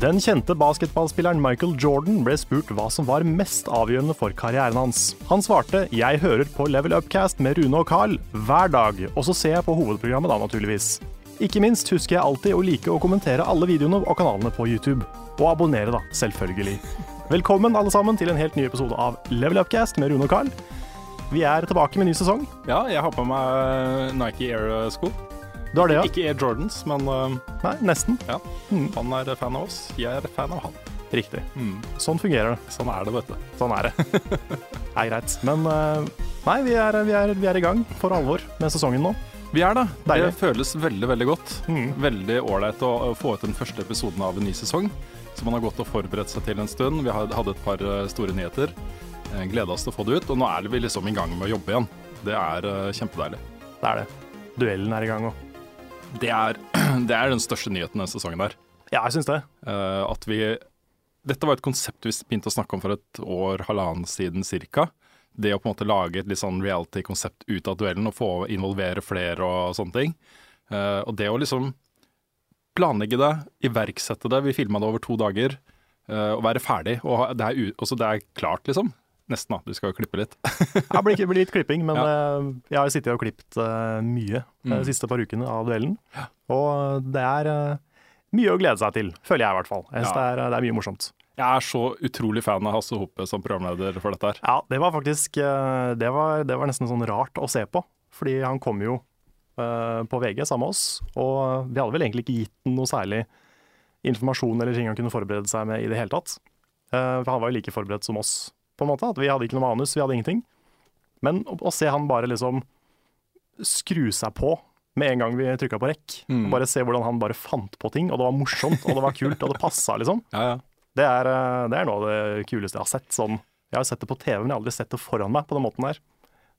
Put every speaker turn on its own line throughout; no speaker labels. Den kjente basketballspilleren Michael Jordan ble spurt hva som var mest avgjørende for karrieren hans. Han svarte 'Jeg hører på Level Upcast med Rune og Carl hver dag', og så ser jeg på hovedprogrammet da, naturligvis. Ikke minst husker jeg alltid å like å kommentere alle videoene og kanalene på YouTube. Og abonnere, da, selvfølgelig. Velkommen alle sammen til en helt ny episode av Level Upcast med Rune og Carl. Vi er tilbake med ny sesong.
Ja, jeg har på meg Nike Air-sko.
Du har det, ja?
Ikke Air Jordans, men eh,
Nei, nesten.
ja.
Mm.
han er fan av oss. Jeg er fan av han.
Riktig.
Mm.
Sånn fungerer det.
Sånn er det, vet du.
Sånn er det. Det er greit. Men eh, nei, vi er, vi, er, vi er i gang for alvor med sesongen nå.
Vi er da. Det
Deilig.
føles veldig, veldig godt.
Mm.
Veldig ålreit å å få ut den første episoden av en ny sesong. Så man har gått og forberedt seg til en stund. Vi had- hadde et par eh, store nyheter. Eh, Gleda oss til å få det ut, og nå er vi liksom i gang med å jobbe igjen. Det er eh, kjempedeilig.
Det er det. Duellen er i gang òg.
Det er, det er den største nyheten denne sesongen der.
Ja, jeg syns det.
Eh, at vi Dette var et konsept vi begynte å snakke om for et år, halvannen siden cirka. Det å på en måte lage et litt sånn reality-konsept ut av duellen og få involvere flere og sånne ting. Eh, og det å liksom planlegge det, iverksette det. Vi filma det over to dager. eh, og være ferdig. Og ha- det er, u- også det er klart, liksom. Nesten, da. Du skal jo klippe litt.
Det blir, blir litt klipping, men eh, jeg har sittet og klippet eh, mye de
Mm.
siste par ukene av duellen. Og det er eh, mye å glede seg til, føler jeg i hvert fall. Jeg synes
Ja.
det, er, det er mye morsomt.
Jeg er så utrolig fan av Hasse Hoppe som programleder for dette her.
Ja, det var faktisk eh, det var, det var nesten sånn rart å se på, fordi han kom jo eh, på VG sammen med oss, og vi hadde vel egentlig ikke gitt han noe særlig informasjon eller ting han kunne forberede seg med i det hele tatt. Eh, for han var jo like forberedt som oss, på en måte. At vi hadde ikke noe manus, vi hadde ingenting. Men å, å se han bare liksom skru seg på med en gang vi trykka på rekk,
Mm.
bare se hvordan han bare fant på ting, og det var morsomt, og det var kult, og det passa, liksom.
Ja, ja.
Det er, eh, det er noe av det kuleste jeg har sett. Sånn, jeg har sett det på TV, men jeg har aldri sett det foran meg på den måten der.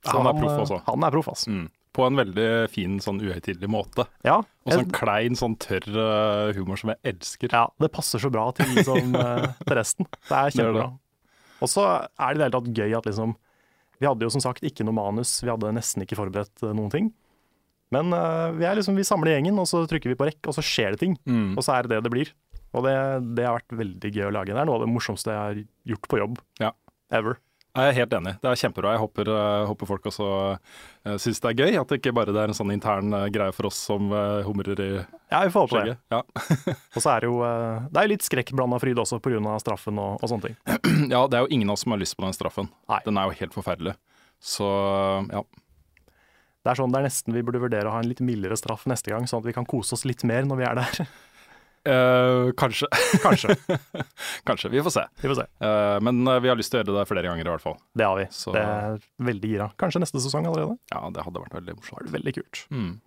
Så
Han er proff også.
eh, Han er proff, altså.
Mm. På en veldig fin, sånn uhøytidelig måte.
Ja,
Og sånn klein, sånn tørr eh, humor som jeg elsker.
ja, det passer så bra til, liksom, eh, til resten. Det er
er
kjempebra. Og så er det i det hele tatt gøy at liksom Vi hadde jo som sagt ikke noe manus, vi hadde nesten ikke forberedt eh, noen ting. Men eh, vi, er liksom, vi samler gjengen, og så trykker vi på rekk, og så skjer det ting.
Mm.
Og så er det det det blir. Og det, det har vært veldig gøy å lage. Det er noe av det morsomste jeg har gjort på jobb.
Ja.
Ever.
Jeg er helt enig. Det er kjempebra. Jeg håper, eh, håper folk også uh, syns det er gøy. At det ikke bare det er en sånn intern eh, greie for oss som eh, humrer i
Ja, vi får håpe det.
skjegget. Ja.
Og så er det jo eh, det er jo litt skrekkblanda fryd også pga. straffen og, og sånne ting.
ja, det er jo ingen av oss som har lyst på den straffen.
Nei.
Den er jo helt forferdelig. Så ja.
Det er sånn det er nesten vi burde vurdere å ha en litt mildere straff neste gang, sånn at vi kan kose oss litt mer når vi er der.
Eh, kanskje. Kanskje. kanskje. Vi får se.
Vi får se.
Eh, men eh, vi har lyst til å gjøre det flere ganger i hvert fall.
Det har vi.
Så-
Det er veldig gira. Kanskje neste sesong allerede.
Ja, det hadde vært veldig morsomt.
Det er veldig kult.
Mm.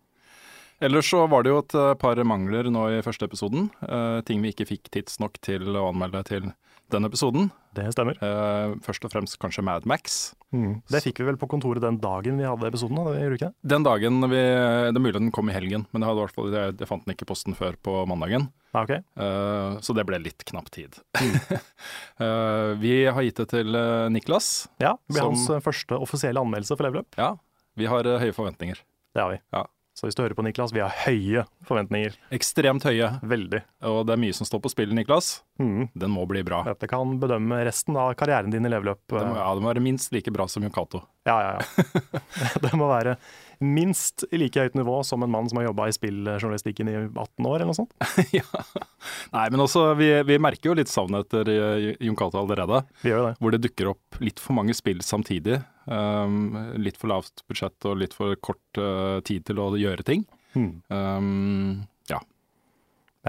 Ellers så var det jo et eh, par mangler nå i første episoden. eh, ting vi ikke fikk tidsnok til å anmelde til den episoden.
Det stemmer.
Eh, først og fremst kanskje Mad Max.
Det fikk vi vel på kontoret den dagen vi hadde episoden, hadde vi gjorde vi ikke det?
Den dagen vi, Det er mulig den kom i helgen, men jeg, hadde i hvert fall, jeg, jeg fant den ikke i posten før på mandagen.
Nei, ok.
Eh, så det ble litt knapp tid. Eh, vi har gitt det til eh, Niklas.
Ja, det blir
Som-
hans eh, første offisielle anmeldelse for Level Up.
Ja, vi har eh, høye forventninger.
Det har vi.
Ja.
Så hvis du hører på, Niklas, vi har høye forventninger.
Ekstremt høye,
Veldig.
og det er mye som står på spill, Niklas.
Mhm.
Den må bli bra.
Dette kan bedømme resten av karrieren din i Level Up.
Den må,
eh,
ja, den må være minst like bra som Yokato.
Ja, ja, ja. Det må være minst i like høyt nivå som en mann som har jobba i spilljournalistikken i 18 år, eller noe sånt.
ja. Nei, men også, vi, vi merker jo litt savnet etter eh, Yokato allerede.
Vi gjør jo det.
Hvor det dukker opp litt for mange spill samtidig. Um, litt for lavt budsjett og litt for kort eh, tid til å gjøre ting.
Hmm.
Um, ja.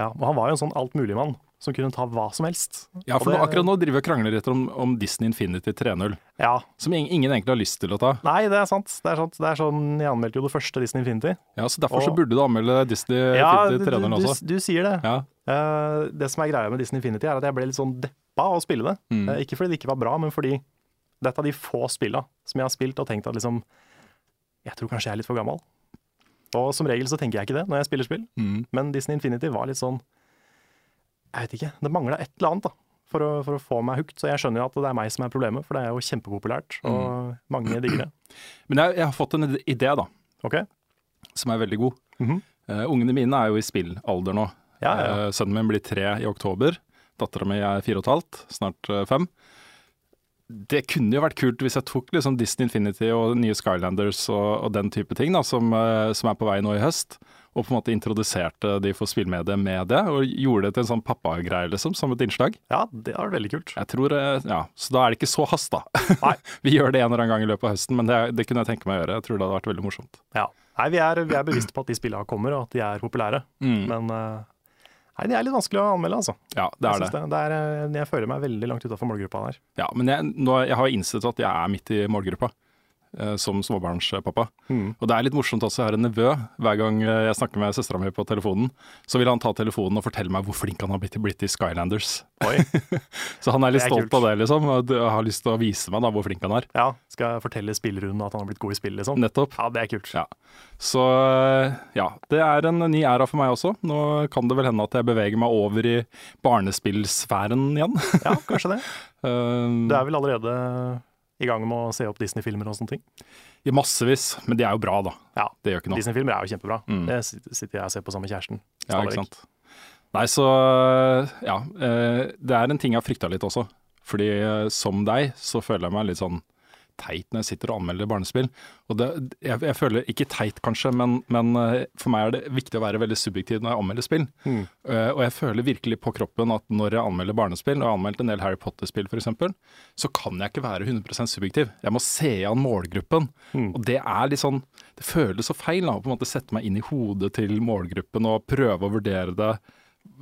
Ja, og han var jo en sånn altmuligmann som kunne ta hva som helst.
ja,
Og
for nå,
det-
akkurat nå driver vi og krangler etter om, om Disney Infinity 3.0,
Ja.
som ingen, ingen egentlig har lyst til å ta.
Nei, det er sant. Det er, sant. Det er sånn Jeg anmeldte jo det første Disney Infinity.
Ja, Så derfor så
Og-
burde du anmelde Disney
du,
Infinity
du,
3.0
du,
også.
du sier det.
Ja.
Eh, det som er greia med Disney Infinity, er at jeg ble litt sånn deppa av å spille det. Eh, ikke fordi det ikke var bra, men fordi det er et av de få spilla som jeg har spilt og tenkt at liksom Jeg tror kanskje jeg er litt for gammel. Og som regel så tenker jeg ikke det når jeg spiller spill, men Disney Infinity var litt sånn Jeg vet ikke. Det mangla et eller annet da, for å, for å få meg hooked. Så jeg skjønner jo at det er meg som er problemet, for det er jo kjempepopulært, og mange digger det.
Men jeg, jeg har fått en idé, da,
OK?
som er veldig god.
Mhm.
Eh, ungene mine er jo i spillalder nå.
Ja, ja, ja.
Eh, sønnen min blir tre i oktober. Dattera mi er fire og et halvt, snart eh, fem. Det kunne jo vært kult hvis jeg tok liksom Disney Infinity og nye Skylanders og, og den type ting da, som, eh, som er på vei nå i høst, og på en måte introduserte de for spillmediet med det, og gjorde det til en sånn pappagreie, liksom, som et innslag.
Ja, det har vært veldig kult.
Jeg tror, eh, ja, Så da er det ikke så hast, da.
Nei.
Vi gjør det en eller annen gang i løpet av høsten, men det, det kunne jeg tenke meg å gjøre. Jeg tror det hadde vært veldig morsomt.
Ja. Nei, vi er, vi er bevisste på at de spillene kommer, og at de er populære.
Mm.
Men eh, nei, de er litt vanskelig å anmelde, altså.
Ja,
jeg,
det er det.
synes det. Det er, eh, jeg føler meg veldig langt utafor målgruppa der.
Ja, men jeg, nå, jeg har innsett at jeg er midt i målgruppa eh, som småbarnspappa.
Mm.
Og det er litt morsomt også, jeg har en nevø. Hver gang eh, jeg snakker med søstera mi på telefonen, så vil han ta telefonen og fortelle meg hvor flink han har blitt, blitt i Skylanders.
Oi.
Så han er litt
Det er
stolt
kult.
av det, liksom. Og d- har lyst til å vise meg da hvor flink han er.
Ja, skal jeg fortelle spillrunden at han har blitt god i spill, liksom?
Nettopp.
Ja, det er kult.
Ja. Så eh, ja, det er en ny æra for meg også. Nå kan det vel hende at jeg beveger meg over i barnespillsfæren igjen.
Ja, kanskje det.
Eh,
Du er vel allerede i gang med å se opp Disney-filmer og sånne ting?
I massevis. Men de er jo bra, da.
Ja.
Det gjør ikke noe.
Disney-filmer er jo kjempebra.
Mm.
Det sit- sitter jeg og ser på sammen med kjæresten.
Ja,
stadig
ikke
vekk.
sant. Nei, så ja. eh, Det er en ting jeg har frykta litt også. Fordi eh, som deg, så føler jeg meg litt sånn teit når jeg sitter og anmelder barnespill. Og det, jeg, jeg føler ikke teit kanskje, men, men eh, for meg er det viktig å være veldig subjektiv når jeg anmelder spill. Eh, og jeg føler virkelig på kroppen at når jeg anmelder barnespill, og jeg har anmeldt en del Harry Potter-spill f.eks., så kan jeg ikke være 100 subjektiv. Jeg må se an målgruppen. Og det er litt sånn Det føles så feil da, å på en måte sette meg inn i hodet til målgruppen og prøve å vurdere det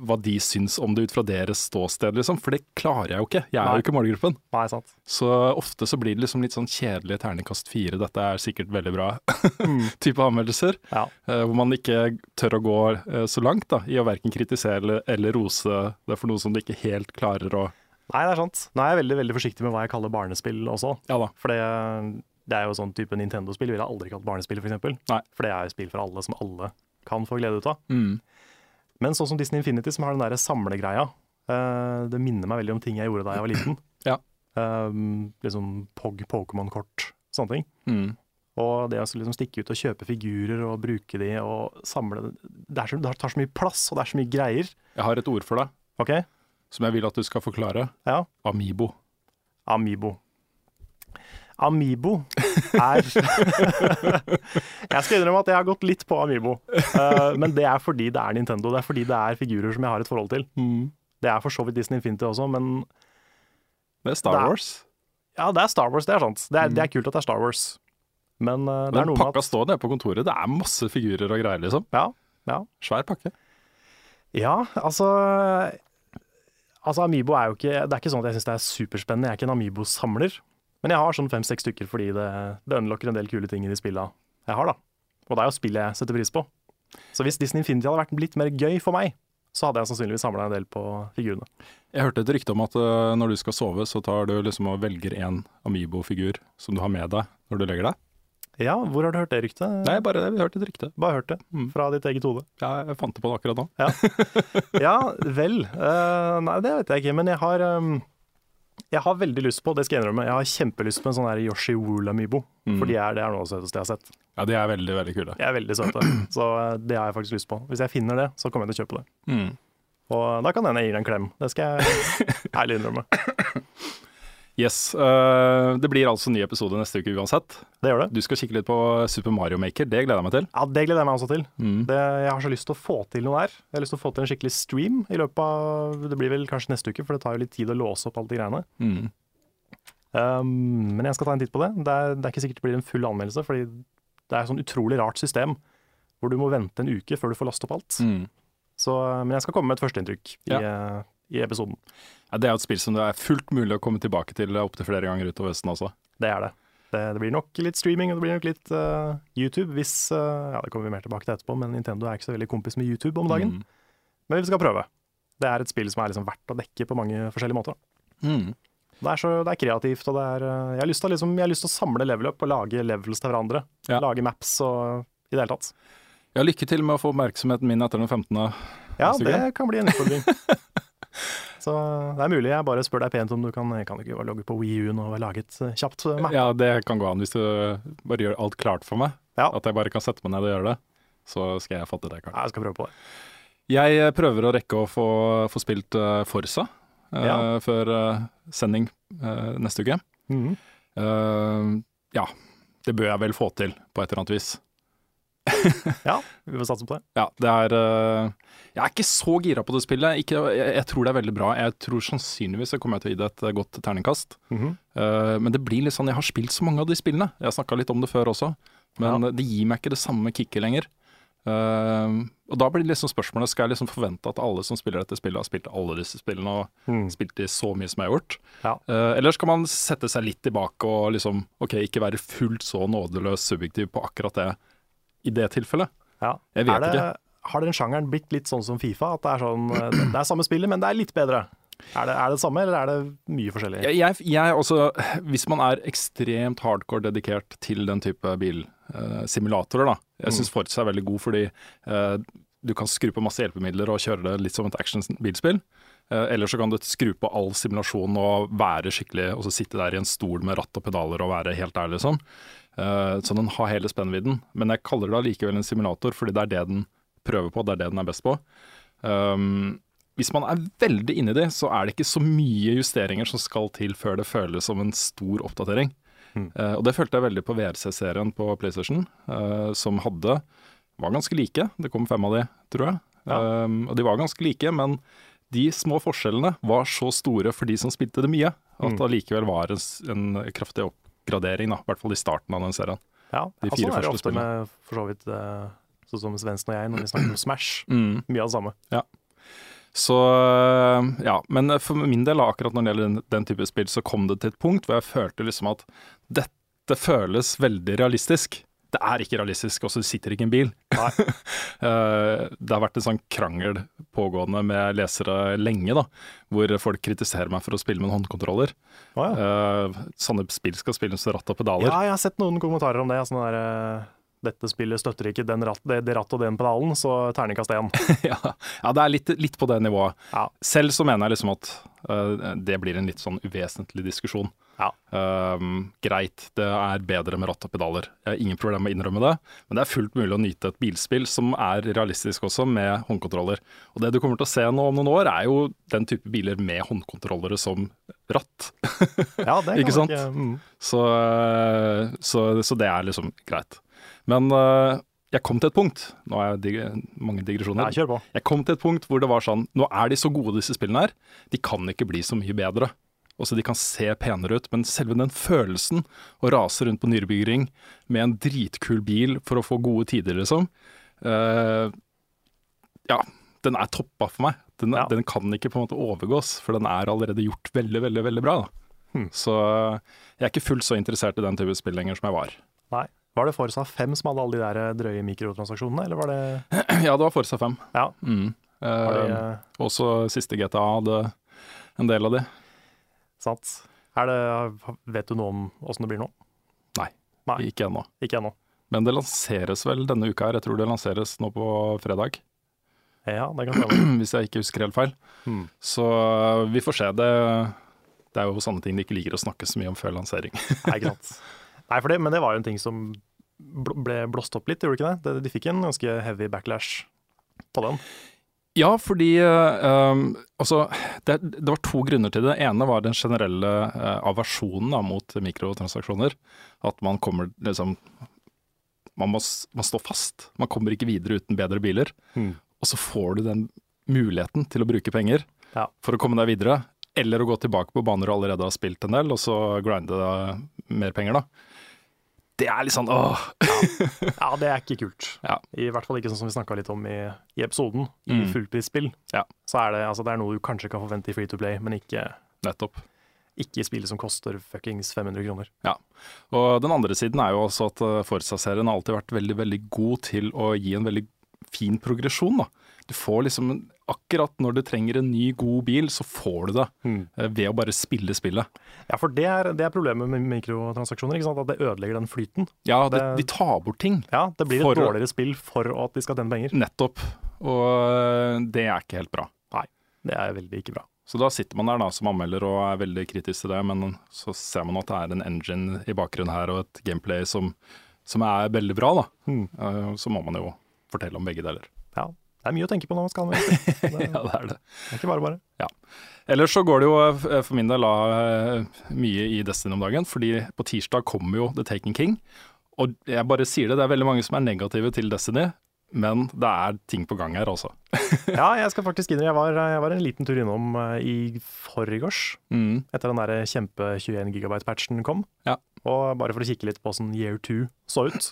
hva de syns om det ut fra deres ståsted, liksom. For det klarer jeg jo ikke. Jeg er
Nei.
jo ikke målgruppen.
Nei, sant.
Så ofte så blir det liksom litt sånn kjedelige terningkast fire, dette er sikkert veldig bra type anmeldelser.
Ja.
Eh, hvor man ikke tør å gå eh, så langt da, i å verken kritisere eller, eller rose det for noe som de ikke helt klarer å
Nei, det er sant. Nå er jeg veldig, veldig forsiktig med hva jeg kaller barnespill også.
Ja da.
For det, det er jo sånn type Nintendo-spill ville jeg aldri kalt barnespill, f.eks. For,
Nei.
eksempel. for det er jo spill for alle som alle kan få glede ut av.
Mm.
Men sånn som Disney Infinity, som har den derre samlegreia, eh, det minner meg veldig om ting jeg gjorde da jeg var liten.
Ja.
Eh, liksom Pog, Pokémon-kort, sånne ting.
Mm.
Og det å skulle liksom stikke ut og kjøpe figurer og bruke de og samle Det, er så, det tar så mye plass, og det er så mye greier.
Jeg har et ord for deg
OK?
som jeg vil at du skal forklare.
Ja.
Amibo.
Amibo. Amibo er Jeg skal innrømme at jeg har gått litt på Amibo. Eh, men det er fordi det er Nintendo. Det er fordi det er figurer som jeg har et forhold til.
Mm.
Det er for så vidt Disney Infinity også, men
Det er Star
Det er-
Wars.
ja, det er Star Wars, det er sant. Det er, det er kult at det er Star Wars. Men eh, det er
Mm. Den
noe med
pakka
at
står nede på kontoret. Det er masse figurer og greier, liksom.
ja, ja.
Svær pakke.
ja, altså Altså, Amibo er jo ikke Det er ikke sånn at jeg syns det er superspennende. Jeg er ikke en Amibo-samler. Men jeg har sånn fem-seks stykker fordi det, det unlocker en del kule ting i de spilla jeg har, da. Og det er jo spill jeg setter pris på. Så hvis Disney Infinity hadde vært litt mer gøy for meg, så hadde jeg sannsynligvis samla en del på figurene.
Jeg hørte et rykte om at eh, når du skal sove, så tar du liksom og velger en Amibo-figur som du har med deg når du legger deg.
Ja, hvor har du hørt det ryktet?
Nei, bare det. Vi hørte et rykte.
Bare hørt det
Mm.
fra ditt eget hode.
Jeg, jeg fant det på det akkurat nå.
Ja, vel. Eh, nei, det vet jeg ikke. Men jeg har, eh, jeg har veldig lyst på, det skal jeg innrømme, jeg har kjempelyst på en sånn her Yoshi Wool-amibo. For de er, det er noe av det søteste jeg har sett.
Ja, de er veldig, veldig kule.
De er veldig søte. Så eh, det har jeg faktisk lyst på. Hvis jeg finner det, så kommer jeg til å kjøpe det.
Mm.
Og da kan hende jeg gir deg en klem. Det skal jeg ærlig innrømme.
Yes. eh, det blir altså ny episode neste uke uansett.
Det gjør det.
Du skal kikke litt på Super Mario Maker, det gleder jeg meg til.
Ja, Det gleder jeg meg også til.
Mm.
Det, jeg har så lyst til å få til noe her. Jeg har lyst til å få til en skikkelig stream i løpet av Det blir vel kanskje neste uke, for det tar jo litt tid å låse opp alle de greiene.
Mm.
Um, men jeg skal ta en titt på det. Det er, det er ikke sikkert det blir en full anmeldelse, fordi det er et sånn utrolig rart system hvor du må vente en uke før du får lastet opp alt.
Mm.
Så, eh, men jeg skal komme med et førsteinntrykk i, eh, i episoden.
Ja, det er jo et spill som det er fullt mulig å komme tilbake til opptil flere ganger utover høsten også.
Det er det. det. Det blir nok litt streaming og det blir nok litt eh, YouTube hvis eh, Ja, det kommer vi mer tilbake til etterpå, men Nintendo er ikke så veldig kompis med YouTube om
Mm.
dagen. Men vi skal prøve. Det er et spill som er liksom verdt å dekke på mange forskjellige måter. da.
Mm.
Det er, så, det er kreativt, og det er eh, Jeg har lyst til å, liksom, jeg har lyst til å samle level up og lage levels til hverandre.
Ja.
Lage maps og i det hele tatt.
Ja, lykke til med å få oppmerksomheten min etter den 15.
Ja,
Neste
det
gang.
kan bli en utfordring. Så det er mulig jeg bare spør deg pent om du kan Kan du ikke bare logge på WiiU-en og lage et eh, kjapt eh, map?
Ja, det kan gå an hvis du bare gjør alt klart for meg.
Ja.
At jeg bare kan sette meg ned og gjøre det. Så skal jeg fatte det. Karl.
Ja, jeg skal prøve på det.
Jeg eh, prøver å rekke å få, få spilt eh, Forsa eh,
Ja.
før eh, sending eh, neste uke.
Mhm.
Eh, ja, det bør jeg vel få til på et eller annet vis.
Ja, vi får satse på det.
Ja, det er eh, Jeg er ikke så gira på det spillet. Ikke, jeg, jeg tror det er veldig bra. Jeg tror sannsynligvis så kommer jeg til å gi det et eh, godt terningkast.
Mhm.
Eh, men det blir litt sånn Jeg har spilt så mange av de spillene. Jeg har snakka litt om det før også, men eh, det gir meg ikke det samme kicket lenger. Eh, og da blir det liksom spørsmålet Skal jeg liksom forvente at alle som spiller dette spillet, har spilt alle disse spillene og
Mhm.
spilt de så mye som jeg har gjort?
Ja.
Eh, eller skal man sette seg litt tilbake og liksom OK, ikke være fullt så nådeløs subjektiv på akkurat det i det tilfellet?
Ja.
Jeg vet
er det,
ikke.
Har den sjangeren blitt litt sånn som Fifa? At det er, sånn, eh, det er samme spillet, men det er litt bedre? Er det, er det det samme, eller er det mye forskjellig?
Jeg, jeg, jeg også, hvis man er ekstremt hardcore dedikert til den type bilsimulatorer, da. Jeg syns Forza er veldig god fordi eh, du kan skru på masse hjelpemidler og kjøre det litt som et action-bilspill. Eh, eller så kan du skru på all simulasjon og være skikkelig, og så sitte der i en stol med ratt og pedaler og være helt der, liksom. Eh, så den har hele spennvidden. Men jeg kaller det allikevel en simulator, fordi det er det den prøver på, det er det den er best på. Um, hvis man er veldig inni det, så er det ikke så mye justeringer som skal til før det føles som en stor oppdatering. Eh, og det følte jeg veldig på VRC-serien på PlayStation, eh, som hadde var ganske like. Det kom fem av de, tror jeg. Um, og de var ganske like, men de små forskjellene var så store for de som spilte det mye, at det allikevel var en, s- en kraftig oppgradering, da, i hvert fall i starten av den serien.
ja, og
de fire
sånn er det
første
ofte med for så vidt eh, sånn som Svendsen og jeg når vi snakker om Smash.
Mm.
Mye av det samme.
Så ja, men for min del da, akkurat når det gjelder den, den type spill, så kom det til et punkt hvor jeg følte liksom at dette føles veldig realistisk. Det er ikke realistisk, og så sitter det ikke i en bil. Eh, det har vært en sånn krangel pågående med lesere lenge, da, hvor folk kritiserer meg for å spille med en håndkontroller.
Å, ja.
Eh, sånne spill skal spilles med ratt og pedaler.
ja, jeg har sett noen kommentarer om det. Sånn der, eh, dette spillet støtter ikke den ratt, det, det ratt og den pedalen, så terningkast én.
ja, ja, det er litt, litt på det nivået.
Ja.
Selv så mener jeg liksom at eh, det blir en litt sånn uvesentlig diskusjon.
Ja.
Ehm, greit, det er bedre med ratt og pedaler. Jeg har ingen problemer med å innrømme det, men det er fullt mulig å nyte et bilspill som er realistisk også, med håndkontroller. Og det du kommer til å se nå om noen år, er jo den type biler med håndkontrollere som ratt.
Ja, det kan
Ikke sant?
man mm.
Så, eh, så, så det er liksom greit. Men eh, jeg kom til et punkt, nå er jeg dig mange digresjoner,
Ja, kjør på.
jeg kom til et punkt hvor det var sånn Nå er de så gode disse spillene her, de kan ikke bli så mye bedre. Også de kan se penere ut, men selve den følelsen å rase rundt på Nürburgring med en dritkul bil for å få gode tider, liksom eh, Ja, den er toppa for meg. Den,
Ja.
den kan ikke på en måte overgås, for den er allerede gjort veldig, veldig veldig bra. Da.
Hmm.
Så eh, jeg er ikke fullt så interessert i den type spill lenger som jeg var.
Nei. Var det eh, Forsa 5 som hadde alle de der drøye mikrotransaksjonene, eller var det
ja, det var Forsa 5.
Ja.
Mm.
Har de,
Eh,
eh,
også siste GTA hadde en del av det.
sant? Er det, vet du noe om åssen det blir nå? Nei.
Ikke ennå.
Ikke ennå.
Men det lanseres vel denne uka her. Jeg tror det lanseres nå på fredag,
Ja, det kan stemme.
hvis jeg ikke husker helt feil.
Hmm.
Så vi får se. Det, det er jo sånne ting de ikke liker å snakke så mye om før lansering.
Nei, ikke sant. Nei, for det, men det var jo en ting som bl- ble blåst opp litt, gjorde det ikke det? De, de fikk en ganske heavy backlash på den.
Ja, fordi eh, um, altså, det, det var to grunner til det. Det ene var den generelle eh, aversjonen da, mot mikrotransaksjoner. At man kommer liksom man må, s- man står fast. Man kommer ikke videre uten bedre biler.
Mm.
Og så får du den muligheten til å bruke penger
Ja.
for å komme deg videre. Eller å gå tilbake på baner du allerede har spilt en del, og så grinde deg mer penger, da. Det er litt sånn åh.
Ja, det er ikke kult.
Ja.
I hvert fall ikke sånn som vi snakka litt om i, i episoden. I
Mm.
fullprisspill
Ja.
så er det, altså, det er noe du kanskje kan forvente i Free to Play, men ikke,
Nettopp.
ikke i spillet som koster fuckings 500 kroner.
Ja. Og den andre siden er jo også at eh, Forza-serien har alltid vært veldig, veldig god til å gi en veldig fin progresjon, da. Du får liksom en- Akkurat når du trenger en ny, god bil, så får du det.
Mm.
eh, Ved å bare spille spillet.
Ja, for det er, det er problemet med mikrotransaksjoner, ikke sant? at det ødelegger den flyten.
Ja, de,
Det-
de tar bort ting.
Ja, Det blir et
For å-
dårligere spill for at de skal tjene penger.
Nettopp. Og eh, det er ikke helt bra.
Det er veldig ikke bra.
Så da sitter man der da som anmelder og er veldig kritisk til det, men så ser man at det er en engine i bakgrunnen her og et gameplay som, som er veldig bra, da.
Mm.
Eh, Så må man jo fortelle om begge deler.
Ja, Det er mye å tenke på når man skal anmelde spill. Det
Ja, det er det.
er ikke bare bare.
Ellers så går det jo eh, for min del da, eh, mye i Destiny om dagen, fordi på tirsdag kommer jo The Taken King. Og jeg bare sier det, det er veldig mange som er negative til Destiny, men det er ting på gang her altså. også.
Ja, jeg skal faktisk innrømme, jeg var, jeg var en liten tur innom eh, i forgårs,
Mm.
etter den der kjempe 21 gigabyte-patchen kom.
Ja.
Og bare for å kikke litt på hvordan Year 2 så ut.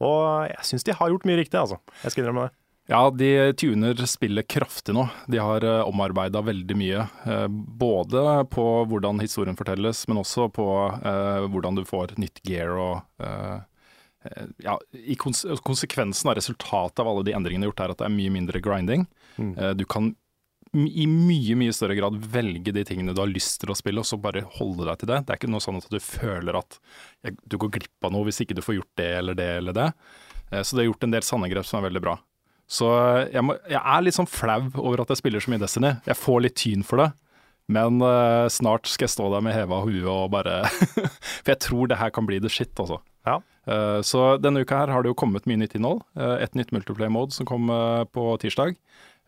Og jeg syns de har gjort mye riktig, altså. Jeg skal innrømme det.
Ja, de tuner spillet kraftig nå. De har uh, omarbeida veldig mye. eh, både på hvordan historien fortelles, men også på eh, hvordan du får nytt gear og eh, eh, ja, i kons Konsekvensen av resultatet av alle de endringene gjort, er at det er mye mindre grinding.
Mm.
Eh, du kan m- i mye mye større grad velge de tingene du har lyst til å spille, og så bare holde deg til det. Det er ikke noe sånn at du føler at jeg, du går glipp av noe hvis ikke du får gjort det eller det eller det. Eh, Så det er gjort en del sandegrep som er veldig bra. Så jeg, må, jeg er litt sånn flau over at jeg spiller så mye Destiny. Jeg får litt tyn for det. Men eh, snart skal jeg stå der med heva hue og bare For jeg tror det her kan bli the shit, altså.
Ja.
Eh, så denne uka her har det jo kommet mye nytt innhold. Eh, et nytt multiplayer mode som kom eh, på tirsdag.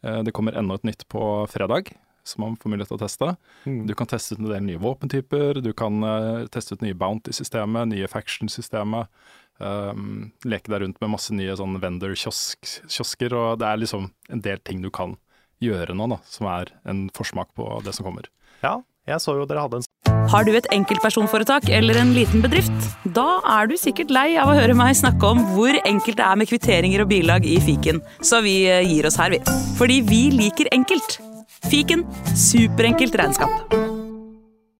Eh, det kommer enda et nytt på fredag, som man får mulighet til å teste. Du kan teste ut en del nye våpentyper, du kan eh, teste ut nye bounty-systemet, nye faction-systemet. Um, leke deg rundt med masse nye sånn vendor-kiosker, og det er liksom en del ting du kan gjøre nå, da, som er en forsmak på det som kommer.
Ja, jeg så jo dere hadde en
Har du et enkeltpersonforetak eller en liten bedrift? Da er du sikkert lei av å høre meg snakke om hvor enkelt det er med kvitteringer og bilag i fiken, så vi eh, gir oss her, vi. Fordi vi liker enkelt. Fiken superenkelt regnskap.